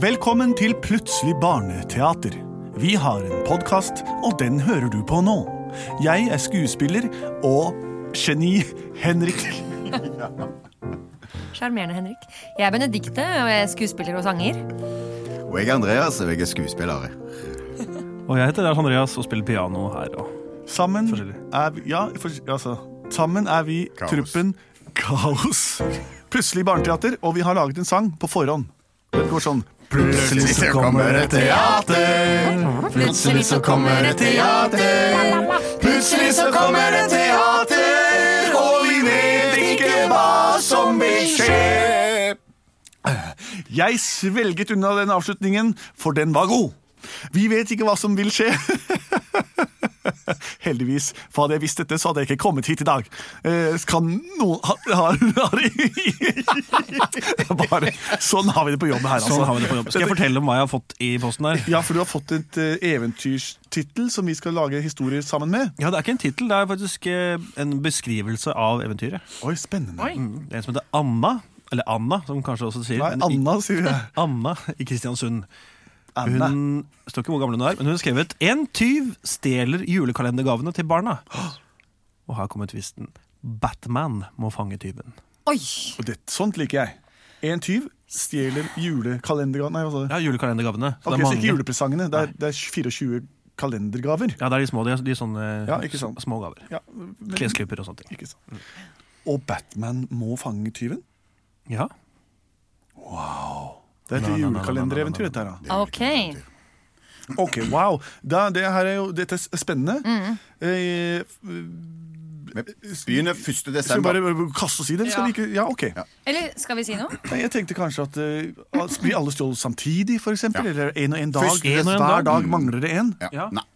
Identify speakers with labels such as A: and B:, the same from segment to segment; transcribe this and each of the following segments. A: Velkommen til Plutselig barneteater. Vi har en podkast, og den hører du på nå. Jeg er skuespiller og geni Henrik.
B: Sjarmerende, Henrik. Jeg er Benedikte, og jeg er skuespiller og sanger.
C: Og jeg er Andreas, og jeg er skuespiller.
D: Og jeg heter Lars Andreas og spiller piano her. Og
A: Sammen
D: Forskjellig.
A: er vi Ja, for, altså. Sammen er vi
C: Kaos.
A: truppen Kaos. Plutselig barneteater, og vi har laget en sang på forhånd. Den går sånn.
C: Plutselig så kommer et teater. Plutselig så kommer et teater. Plutselig så kommer et teater, og vi vet ikke hva som vil skje.
A: Jeg svelget unna den avslutningen, for den var god. Vi vet ikke hva som vil skje. Heldigvis, for hadde jeg visst dette, så hadde jeg ikke kommet hit i dag. Eh, kan noen ha, har, har Bare, Sånn har vi det på jobb her, altså.
D: sånn har vi det på jobb. Skal jeg fortelle om hva jeg har fått i posten her?
A: Ja, for du har fått et eh, eventyrstittel som vi skal lage historier sammen med.
D: Ja, Det er ikke en tittel, det er faktisk eh, en beskrivelse av eventyret.
A: Oi, spennende.
D: Det er en som heter Anna, eller Anna, som kanskje også sier.
A: Nei,
D: men i-
A: Anna, sier jeg.
D: Anna i Kristiansund. Hun
A: Anna.
D: står ikke hvor gammel hun er, men hun har skrevet En tyv stjeler julekalendergavene til barna. Og her kommer tvisten. Batman må fange tyven.
B: Oi!
A: Og det, sånt liker jeg. En tyv stjeler julekalendergaven Nei, altså.
D: Ja, julekalendergavene. Så
A: Ok, så
D: det er
A: ikke
D: mange-
A: julepresangene. Det er, det er 24 kalendergaver.
D: Ja, det er de små. De er, de er sånne
A: Ja, ikke sant.
D: små gaver.
A: Ja, men-
D: Klesklyper og sånne ting.
A: Ikke sant. Og Batman må fange tyven?
D: Ja.
A: Det er
D: Nei,
A: et
D: nei, nei,
A: julekalendereventyr,
D: nei,
A: dette her. da.
B: Ok.
A: Ok, wow. Da, det her er jo, dette er spennende. Eh,
C: Vi begynner 1.
A: skal vi
C: desember.
A: bare eh, kaste oss i det? Skal vi ikke? Ja, ok.
B: Eller skal vi si noe?
A: Nei, Jeg tenkte kanskje at eh, at blir alle stjålet samtidig, for eksempel? Eller en og en dag?
C: Først
D: en og en
A: Hver
D: dag.
A: dag mangler det en.
C: Ja.
D: Ja.
C: Nei.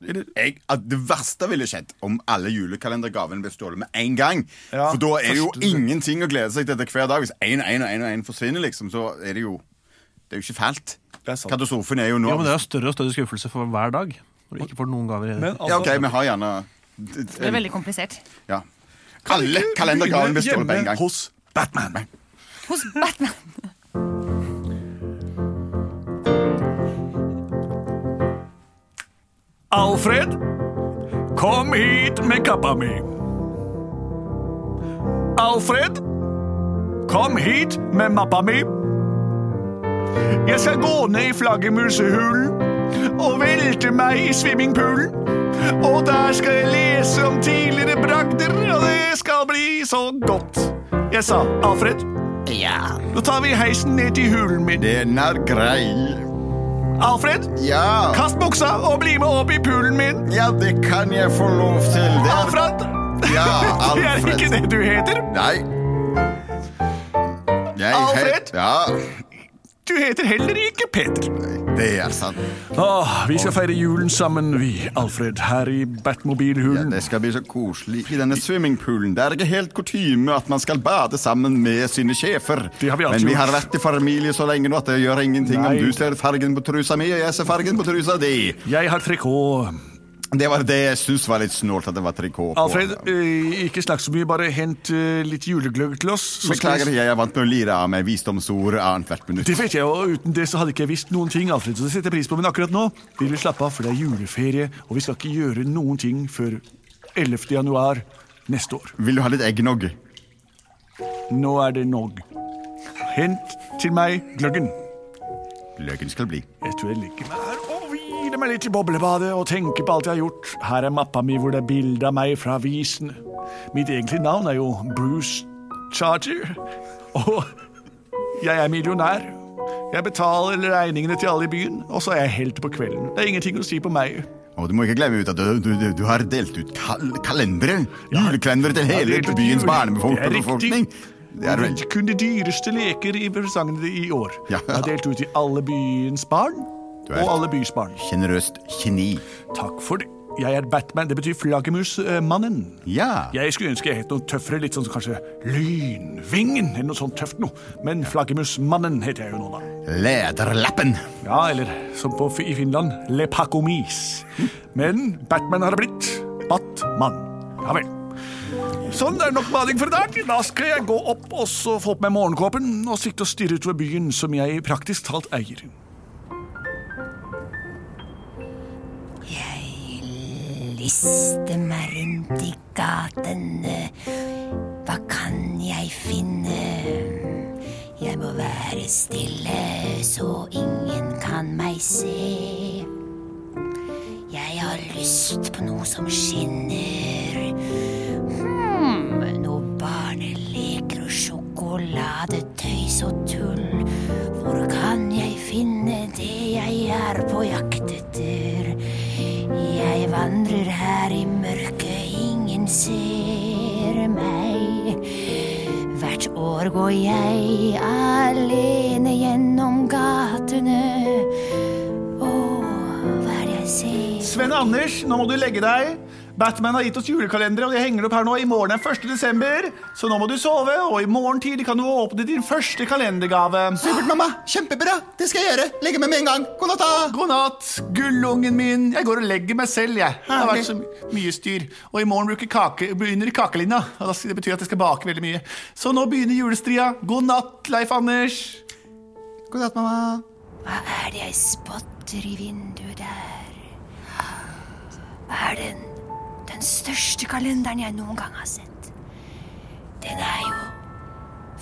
C: Jeg, at det verste ville skjedd om alle julekalendergavene ble stjålet med en gang.
A: Ja,
C: For da er det jo
A: forstår du.
C: ingenting å glede seg til etter hver dag. Hvis én og én og én og en forsvinner, liksom, så er det jo Det er jo ikke fælt.
A: Det er sant.
C: Katastrofen er jo nå
D: Jo, men det er jo større og større skuffelse for hver dag. Når du ikke får noen gaver. i det.
A: Men
C: Ja, OK,
A: altså,
C: vi har gjerne
B: Det er veldig komplisert.
C: ja. Alle kalendergavene ble stjålet på en
A: hjemme
C: gang.
A: hos Batman.
B: Hos Batman.
A: Alfred, kom hit med kappa mi. Alfred, kom hit med mappa mi. Jeg skal gå ned i flaggermusehulen og velte meg i swimmingpoolen. Og der skal jeg lese om tidligere bragder, og det skal bli så godt. Jeg sa Alfred,
C: Ja.
A: nå tar vi heisen ned til hulen min.
C: Den er grei.
A: Alfred,
C: Ja.
A: kast buksa og bli med opp i poolen min.
C: ja, det kan jeg få lov til. Det er
A: Alfred,
C: Ja,
A: det er
C: Alfred.
A: ikke det du heter.
C: Nei. Jeg
A: Alfred?
C: het- Ja.
A: Du heter heller ikke Peter.
C: Det er sant.
A: Åh, Ah, vi skal feire julen sammen, vi, Alfred, her i
C: Ja,
A: Batmobilhulen.
C: det skal bli så koselig i denne swimmingpoolen. Det er ikke helt kutyme at man skal bade sammen med sine sjefer.
A: Det har vi alltid
C: Men vi
A: gjort.
C: har vært i familie så lenge nå at det gjør ingenting
A: Nei.
C: om du ser fargen på trusa mi, og jeg ser fargen på trusa di.
A: Jeg har trikot.
C: Det var det jeg syntes var litt snålt at det var trikot på.
A: Alfred, eh, ikke snakk så mye, bare hent eh, litt julegløgg til oss. så skal
C: Beklager,
A: vi-
C: jeg er vant med å lire av meg visdomsord annethvert minutt.
A: Det vet jeg, og uten det så hadde ikke jeg visst noen ting, Alfred, så det setter jeg pris på, men akkurat nå vil vi slappe av, for det er juleferie, og vi skal ikke gjøre noen ting før 11. januar neste år.
C: Vil du ha litt eggnog?
A: Nå er det nog. Hent til meg gløggen.
C: Løken skal bli.
A: Jeg tror jeg ligger meg her og hviler meg litt i boblebadet og tenker på alt jeg har gjort. Her er mappa mi hvor det er bilde av meg fra avisene. Mitt egentlige navn er jo Bruce Charger. Og jeg er millionær. Jeg betaler regningene til alle i byen, og så er jeg helt på kvelden. Det er ingenting å si på meg.
C: Og du må ikke glemme ut at du, du, du- du har delt ut kal kalendere. Julekalendere til
A: Ja,
C: hele
A: delt ut jule- Det
C: byens
A: er
C: barnebefolkning.
A: riktig.
C: Det er vel
A: Kun de dyreste leker i presangene i år.
C: Ja.
A: Jeg har delt ut til alle byens barn
C: Du er-
A: og alle bys barn.
C: sjenerøst geni.
A: Takk for det. Jeg er Batman. Det betyr flaggermusmannen.
C: Ja.
A: Jeg skulle ønske jeg het noe tøffere, litt sånn som kanskje Lynvingen, eller noe sånt tøft noe. Men Flaggermusmannen heter jeg jo nå, da.
C: Lederlappen.
A: Ja, eller som på, i Finland, Lepakomis. Men Batman har det blitt. Batman. Ja vel. Sånn, det er nok bading for i dag. Da skal jeg gå opp og så få på meg morgenkåpen og sikte og styre utover byen, som jeg praktisk talt eier.
E: liste meg rundt i gatene. Hva kan jeg finne? Jeg må være stille, så ingen kan meg se. Jeg har lyst på noe som skinner. Hmm, noe barneleker og sjokoladetøys og tull. Hvor kan jeg finne det jeg er på jakt etter? Jeg vandrer her i mørket, ingen ser meg. Hvert år går jeg alene gjennom gatene. Å, hva er det jeg ser?
A: Sven Anders, nå må du legge deg. Batman har gitt oss julekalendere, og jeg henger opp her nå. I morgen er 1. desember, så nå må du sove, og i morgen tidlig kan du åpne din første kalendergave.
C: Supert, mamma. Kjempebra. Det skal jeg gjøre. Legge meg med en gang. God natt. da.
A: God natt, gullungen min. Jeg går og legger meg selv, jeg. Det har vært så my- mye styr. Og i morgen bruker kake, begynner kakelinja, og da skal- det betyr at jeg skal bake veldig mye. Så nå begynner julestria. God natt, Leif Anders.
C: God natt, mamma.
E: Hva er det jeg spotter i vinduet der? Hva er den, den største kalenderen jeg noen gang har sett? Den er jo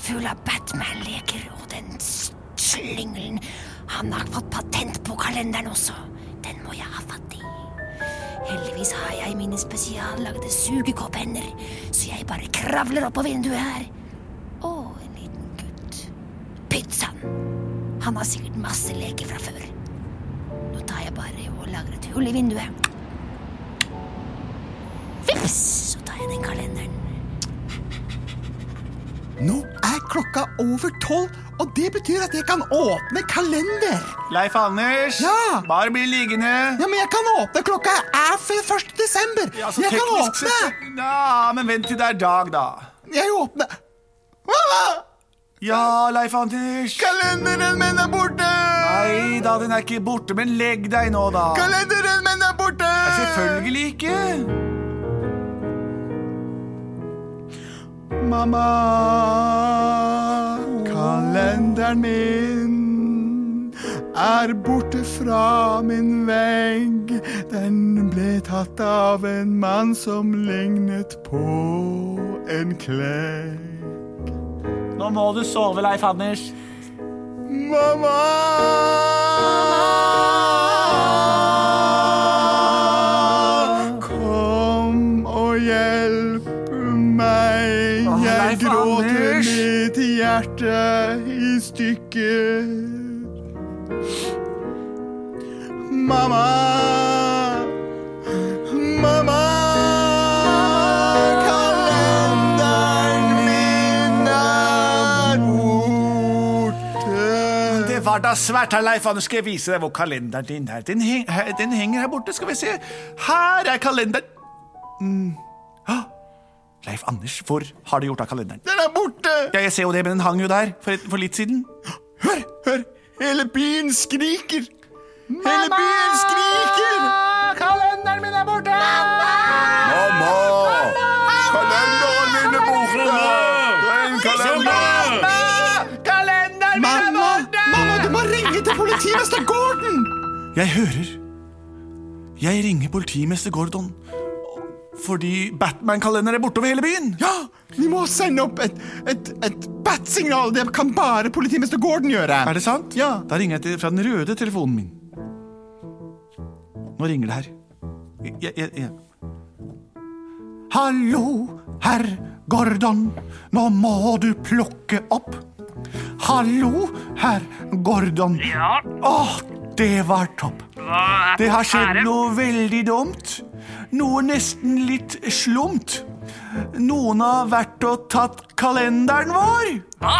E: full av Batman-leker og den s- slyngelen. Han har fått patent på kalenderen også. Den må jeg ha fatt i. Heldigvis har jeg mine spesiallagde sugekopphender, så jeg bare kravler opp på vinduet her. Å, en liten gutt. Pizzaen! Han har sikkert masse leker fra før. Nå tar jeg bare og lager et hull i vinduet. Vips, så tar jeg den kalenderen.
C: Nå er klokka over tolv, og det betyr at jeg kan åpne kalender.
A: Leif Anders,
C: Ja.
A: bare bli liggende.
C: Ja, men jeg kan åpne. Klokka er før 1. desember.
A: altså,
C: jeg kan
A: teknisk
C: åpne.
A: sett- Ja, men vent til det er dag, da.
C: Jeg åpner. Mamma!
A: Ja, Leif Anders.
C: Kalenderen min er borte!
A: Nei da, den er ikke borte, men legg deg nå, da.
C: Kalenderen min er borte!
A: Selvfølgelig ikke.
C: Mamma, kalenderen min er borte fra min vegg. Den ble tatt av en mann som lignet på en klekk.
A: Nå må du sove, Leif Anders.
C: Mamma! Kom og hjelp meg.
A: Åh,
C: Jeg
A: Leif
C: gråter
A: Anders.
C: mitt hjerte i stykker. Mamma! Mamma! Kalenderen min er borte.
A: Det var da svært her, Leif Anders. Skal jeg vise deg hvor kalenderen din er? Den, heng, he- den henger her borte. Skal vi se. Her er kalenderen. Mm. Hå! Leif Anders, hvor har du gjort av kalenderen?
C: Den er borte!
A: Ja, jeg ser jo det, men den hang jo der for, for litt siden.
C: Hør, hør! Hele byen skriker! Hele byen skriker!
A: Kalenderen min er borte!
C: Mamma! Kalenderen min er borte! Den kalenderen!
A: Kalenderen
C: Mamma! Mamma, du må ringe til politimester Gordon!
A: Jeg hører. Jeg ringer politimester Gordon fordi Batman-kalenderen er borte over hele byen.
C: Ja, vi må sende opp et, et, et bat-signal. Det kan bare politimester Gordon gjøre.
A: Er det sant?
C: Ja.
A: Da ringer jeg til, fra den røde telefonen min. Nå ringer det her. Jeg, jeg, jeg. Hallo, herr Gordon. Nå må du plukke opp. Hallo, herr Gordon.
F: Ja,
A: Åh, det var topp.
F: hva er
A: Det har skjedd
F: er det?
A: noe veldig dumt. Noe nesten litt slumt. Noen har vært og tatt kalenderen vår.
F: Hva?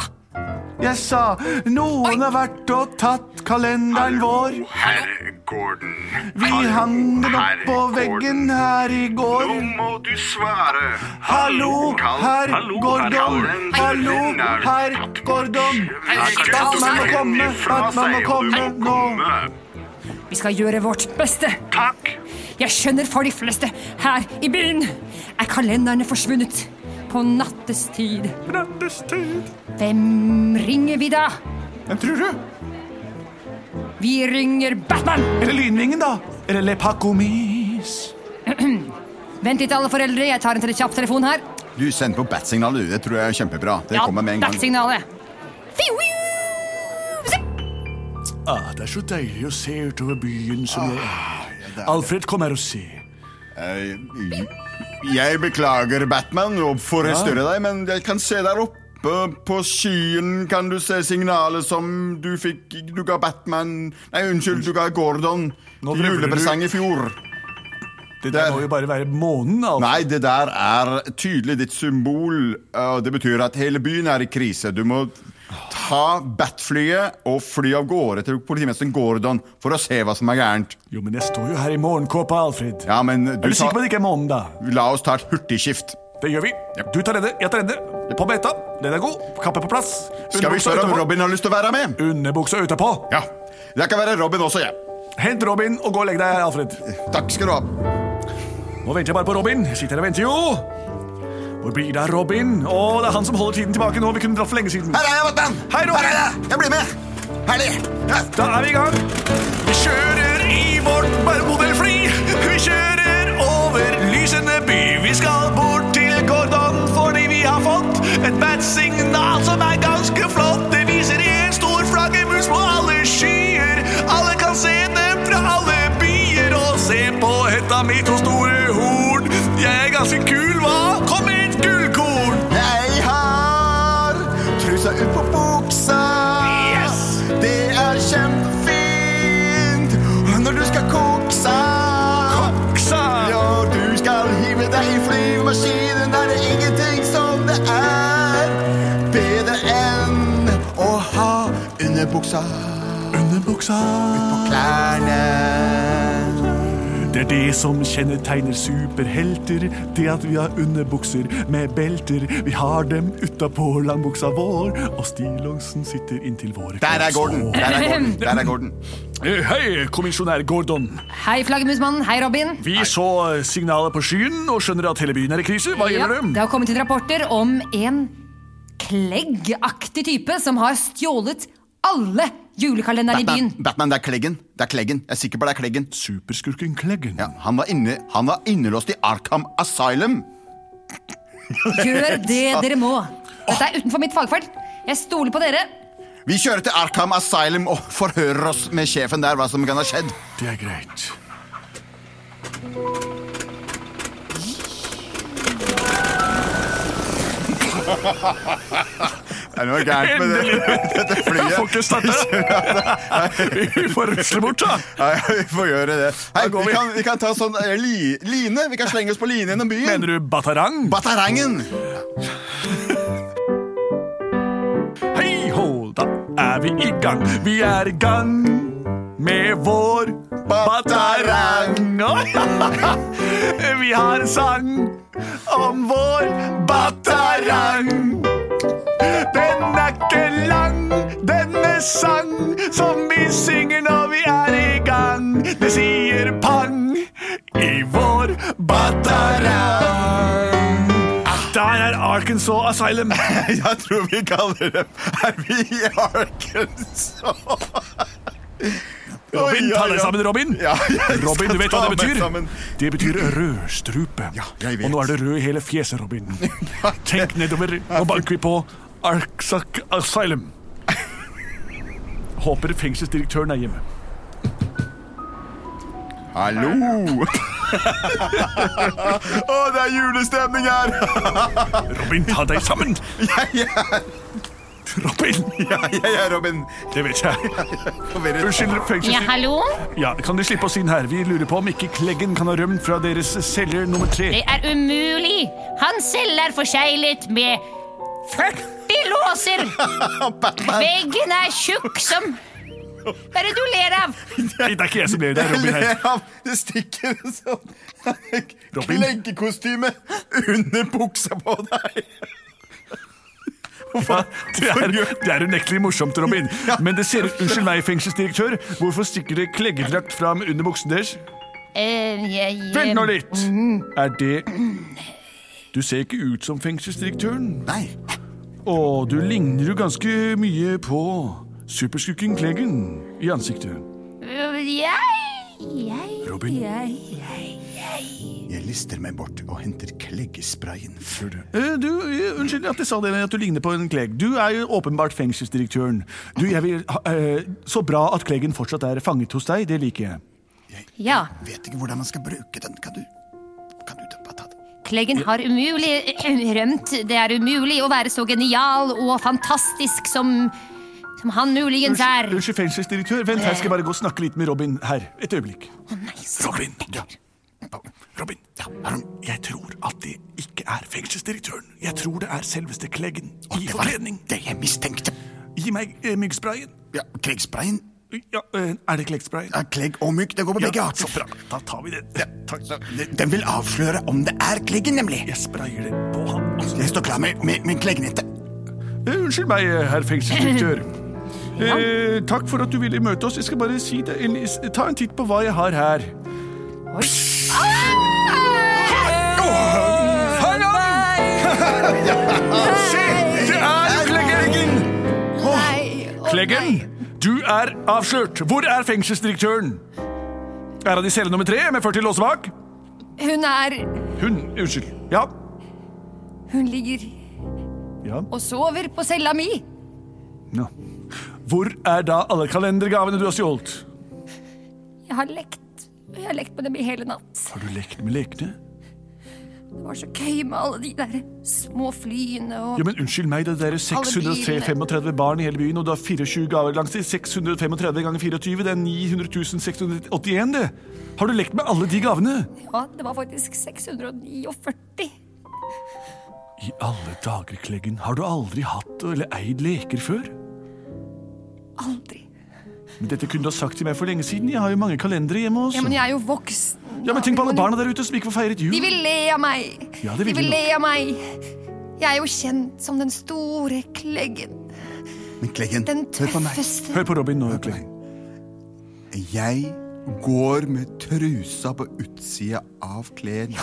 A: Jeg sa noen har vært og tatt kalenderen vår.
G: Herr Gordon.
A: Vi hang den opp
G: Herr
A: på
G: Gordon.
A: veggen her i går.
G: Nå må du svare.
A: Hallo,
G: Kal-
A: herr
F: Hallo, herr
A: Gordon.
G: Gordon.
A: Hallo,
G: Den er
A: herr
G: tatt
A: Gordon.
G: Snakket
B: Batman må
G: den
A: komme,
G: ifra
A: Batman
G: seg,
A: må
G: og du
A: komme
G: må
A: nå.
G: komme.
B: Vi skal gjøre vårt beste.
G: Takk.
B: Jeg skjønner for de fleste her i byen er kalenderne forsvunnet på nattestid. Hvem ringer vi da?
A: Hvem tror du?
B: Vi ringer Batman!
A: Eller Lynvingen, da? Eller Lepakomis?
B: Vent litt, alle foreldre. Jeg tar en tele- kjapp telefon her.
C: Du sender på bat-signalet, du. Det tror jeg er kjempebra. Det kommer med en gang.
B: Bat-signalet.
A: Ah, det er så deilig å se utover byen som jeg Ah, er. Alfred, kom her og se.
C: Eh, Jeg beklager, Batman, og forstyrre deg, men jeg kan se der oppe på skyen kan du se signalet som du fikk Du ga Batman Nei, unnskyld, du ga Gordon
A: Nå
C: til
A: drømmer du.
C: julepresang i fjor.
A: Det der
C: Der.
A: må jo bare være månen. Alfred.
C: Nei, det der er tydelig ditt symbol, eh, og det betyr at hele byen er i krise. Du må ta Bat-flyet og fly av gårde til politimesteren Gordon for å se hva som er gærent.
A: Jo, men jeg står jo her i morgenkåpa, Alfred.
C: Ja, men
A: Er
C: du
A: du
C: sa
A: sikker på at det ikke er månen, da?
C: La oss ta et hurtigskift.
A: Det gjør vi. Du tar denne, jeg tar denne. På med etta. Den er god. Kappe på plass.
C: Skal vi
A: Underbuksa
C: spørre om
A: utapå.
C: Robin har lyst til å være med?
A: Underbuksa utapå.
C: Ja, jeg kan være Robin også, jeg.
A: Hent Robin og gå og legg deg, Alfred.
C: Takk skal du ha.
A: Nå venter jeg bare på Robin. Jeg Sitter her og venter jo. Hvor blir det av Robin? Å, det er han som holder tiden tilbake nå. Vi kunne dratt for lenge siden.
C: Her er jeg, Batman.
A: Hei, Robin.
C: Her er jeg. jeg blir med. Herlig. Ja.
A: Da er vi i gang. Vi kjører i vårt modellfly. Vi kjører over lysende by. Vi skal bort til Gordon fordi vi har fått et bat-signal som er ganske flott. Det viser en stor flaggermus på alle skyer. Alle kan se den fra alle byer. Og se på hetta mi to store horn. Jeg er ganske kul, hva? Kom med et gullkorn.
C: Jeg har trusa ut på buksa.
A: Yes!
C: Det er kjempefint når du skal koksa.
A: Oksa!
C: Ja, du skal hive deg i flymaskinen. Er det ingenting som det er bedre enn å ha underbuksa
A: Underbuksa.
C: på klærne?
A: Det er det som kjennetegner superhelter. Det at vi har underbukser med belter. Vi har dem utapå langbuksa vår, og stillongsen sitter inntil våre
C: Der er Gordon! Der er Gordon! Der er Gordon.
A: Eh, Hei, kommisjonær Gordon.
B: Hei, flaggermusmannen. Hei, Robin.
A: Vi så signalet på skyen og skjønner at hele byen er i krise. Hva
B: Ja,
A: gjelder
B: det
A: det?
B: har kommet inn rapporter om en kleggaktig type som har stjålet alle julekalenderne i
C: Batman,
B: byen.
C: Batman, det er Kleggen. Det er Kleggen. Jeg er sikker på det er Kleggen.
A: Superskurken Kleggen.
C: Ja, han, var inne, han var innelåst i Arkham Asylum.
B: Gjør det dere må. Dette er utenfor mitt fagfelt. Jeg stoler på dere.
C: Vi kjører til Arkham Asylum og forhører oss med sjefen der hva som kan ha skjedd.
A: Det er greit.
C: Det er noe gærent med det, dette
A: Jeg får
C: flyet.
A: ikke starte. Vi får rusle bort, da.
C: Nei, vi får gjøre det.
A: Da
C: Hei,
A: går
C: vi
A: vi.
C: kan, vi kan ta sånn eh, li, line. Vi kan slenge oss på line gjennom byen.
A: Mener du Batarang?
C: Batarangen!
A: Hei hå, da er vi i gang. Vi er i gang med vår batarang. Vi har en sang om vår batarang. Den er ikke lang, denne sang som vi synger når vi er i gang. Det sier pang i vår batarang. Der er Arkansas Asylum.
C: Jeg tror vi kaller dem Er vi i Arkansas?
A: Robin,
C: sånn. Oi,
A: ta
C: oi,
A: deg
C: oi.
A: sammen, Robin.
C: Ja, jeg skal
A: Robin, du vet hva
C: ta
A: det
C: meg
A: betyr?
C: sammen.
A: Det betyr rødstrupe. Ja,
C: jeg vet.
A: Og nå er det rød i hele fjeset, Robin. Tenk nedover. Nå banker vi på Arksak Asylum. Håper fengselsdirektøren er hjemme.
C: Hallo! Å, det er julestemning her!
A: Robin, ta deg sammen!
C: Jeg er,
A: Robin!
C: jeg er Robin.
A: Det vet jeg.
C: Forvirret.
A: Unnskyld, fengselsdirektør.
B: hallo?
A: Ja, kan du slippe oss inn her? Vi lurer på om ikke Kleggen kan ha rømt fra deres celle nummer tre.
F: er umulig. Hans celle er forseglet med 40 låser. Veggen er tjukk som Hva er det du ler av?
A: Nei, det er ikke jeg som ler, det er
C: Jeg
A: Robin her.
C: ler av det stikker en sånn
A: Robin.
C: kleggekostyme under buksa på deg.
A: Ja, det er, det er unektelig morsomt, Robin. Men det ser ut Unnskyld meg, fengselsdirektør. Hvorfor stikker det kleggedrakt fram under buksen deres?
F: Eh, jeg
A: Vent nå litt! Er det Du ser ikke ut som fengselsdirektøren.
C: Nei.
A: Og du ligner jo ganske mye på superskurken Kleggen i ansiktet.
F: Jeg Jeg
A: Robin,
C: Jeg lister meg bort og henter kleggesprayen. Før det.
A: eh, du, eh, unnskyld at jeg sa det, at du ligner på en Klegg. Du er jo åpenbart fengselsdirektøren. Du, jeg vil, ha- eh, så bra at Kleggen fortsatt er fanget hos deg, det liker jeg.
F: Ja.
C: Vet ikke hvordan man skal bruke den. Kan du Kan du ta- bare ta den?
F: Kleggen har umulig rømt. Det er umulig å være så genial og fantastisk som, som han muligens er.
A: Unnskyld, fengselsdirektør. Vent, her skal jeg bare gå og snakke litt med Robin her. Et øyeblikk. Robin, ja. Robin, jeg tror at det ikke er fengselsdirektøren. Jeg tror det er selveste Kleggen i
C: det var
A: forkledning.
C: det jeg mistenkte.
A: Gi meg eh, myggsprayen.
C: Ja, Kleggsprayen
A: Ja, eh, er det Kleggsprayen?
C: er klegg og mygg. Det går på begge
A: Ja, så
C: arter.
A: bra. Da tar vi den. Takk.
C: Den- Den vil avsløre om det er kleggen, nemlig.
A: Jeg sprayer det på han.
C: Jeg står klar med, med, med kleggnettet.
A: Eh, Unnskyld meg, eh, herr fengselsdirektør. Eh, takk for at du ville møte oss. Jeg skal bare si det. en- s- Ta en titt på hva jeg har her. Se! Det er jo Kleggen! Kleggen, du er avslørt. Hvor er fengselsdirektøren? Er han i celle nummer tre med 40 låser bak?
B: Hun er
A: Hun Unnskyld. Ja.
B: Hun ligger
A: ja.
B: og sover på cella mi.
A: Nå. Hvor er da alle kalendergavene du har stjålet?
B: Jeg har lekt. Jeg har lekt med dem i hele natt.
A: Har du lekt med lekene?
B: Det var så gøy med alle de der små flyene og
A: Ja, men Unnskyld meg, det er 635 barn i hele byen, og du har 24 gaver langs de. 635 ganger 24, det er 900 681, det. Har du lekt med alle de gavene?
B: Ja, det var faktisk 649.
A: I alle dager, Kleggen, har du aldri hatt eller eid leker før?
B: Aldri.
A: Men Dette kunne du ha sagt til meg for lenge siden. Jeg har jo mange kalendere hjemme også.
B: Ja, men jeg er jo voksen.
A: Ja, men Tenk på alle
B: Men
A: barna der ute som ikke får feiret jul.
B: De vil le av meg.
A: Ja, det vil
B: de vil
A: de
B: le av meg. Jeg er jo kjent som den store kleggen.
C: Men kleggen,
B: Den
C: hør på meg.
B: tøffeste.
A: Hør på Robin nå, Kleggen.
C: Jeg går med trusa på utsida av klærne.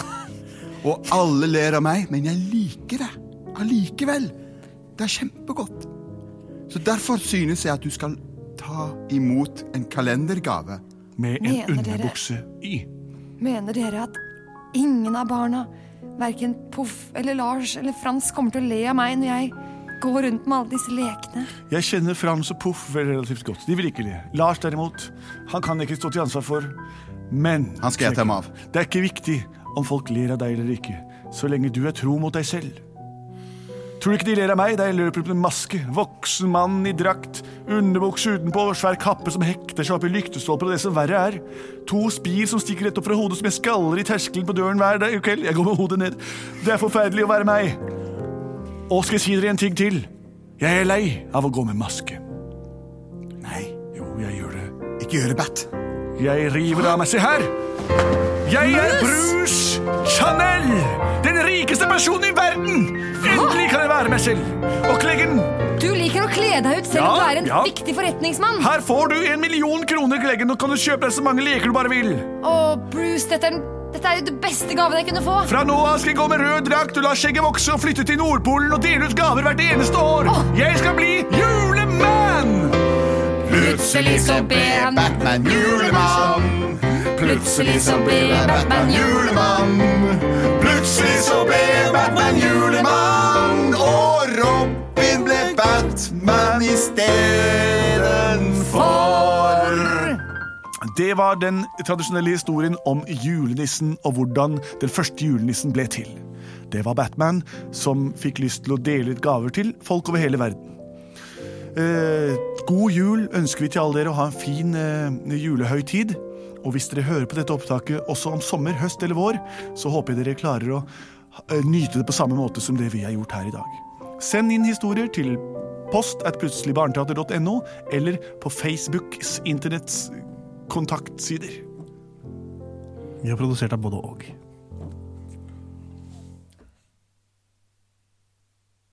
C: Og alle ler av meg, men jeg liker det allikevel. Det er kjempegodt. Så derfor synes jeg at du skal ta imot en kalendergave.
A: Med en
B: Mener dere-
A: underbukse i.
B: Mener dere at ingen av barna, verken Poff eller Lars eller Frans, kommer til å le av meg når jeg går rundt med alle disse lekene?
A: Jeg kjenner Frans og Poff veldig relativt godt. De vil ikke le. Lars derimot, han kan jeg ikke stå til ansvar for. Men
C: Han skal jeg ta meg av.
A: Det er ikke viktig om folk ler av deg eller ikke, så lenge du er tro mot deg selv. Tror du ikke de ler av meg da jeg løper med maske, voksen mann i drakt, underbukse utenpå, svær kappe som hekter seg opp i lyktestolper og det som verre er, to spir som stikker rett opp fra hodet som jeg skaller i terskelen på døren hver dag kveld, jeg går med hodet ned, det er forferdelig å være meg. Og skal jeg si dere en ting til? Jeg er lei av å gå med maske.
C: Nei,
A: Jo, jeg gjør det.
C: ikke gjør det, Bat.
A: Jeg river av meg. Se her! Jeg er Bruce Chanel! Den rikeste personen i verden! Endelig kan jeg være meg selv. Og Kleggen,
B: Du liker å kle deg ut selv
A: Ja,
B: om du er en
A: ja.
B: viktig forretningsmann.
A: her får du en million kroner, Kleggen. Nå kan du kjøpe deg så mange leker du bare vil.
B: Og Bruce, dette er, den- dette er jo det beste gaven jeg kunne få.
A: Fra nå av skal jeg gå med rød drakt og la skjegget vokse og flytte til Nordpolen og dele ut gaver hvert eneste år. Jeg skal bli julemann!
F: Plutselig så ble han
C: Batman julemann. Plutselig så ble Batman julemann. Plutselig så ble Batman julemann. Og Robin ble Batman istedenfor.
A: Det var den tradisjonelle historien om julenissen og hvordan den første julenissen ble til. Det var Batman som fikk lyst til å dele ut gaver til folk over hele verden. Eh, god jul ønsker vi til alle dere å ha en fin eh, julehøytid. Og hvis dere hører på dette opptaket også om sommer, høst eller vår, så håper jeg dere klarer å eh, nyte det på samme måte som det vi har gjort her i dag. Send inn historier til post at plutseligbarneteater.no eller på Facebooks internetts kontaktsider.
D: Vi har produsert av både og.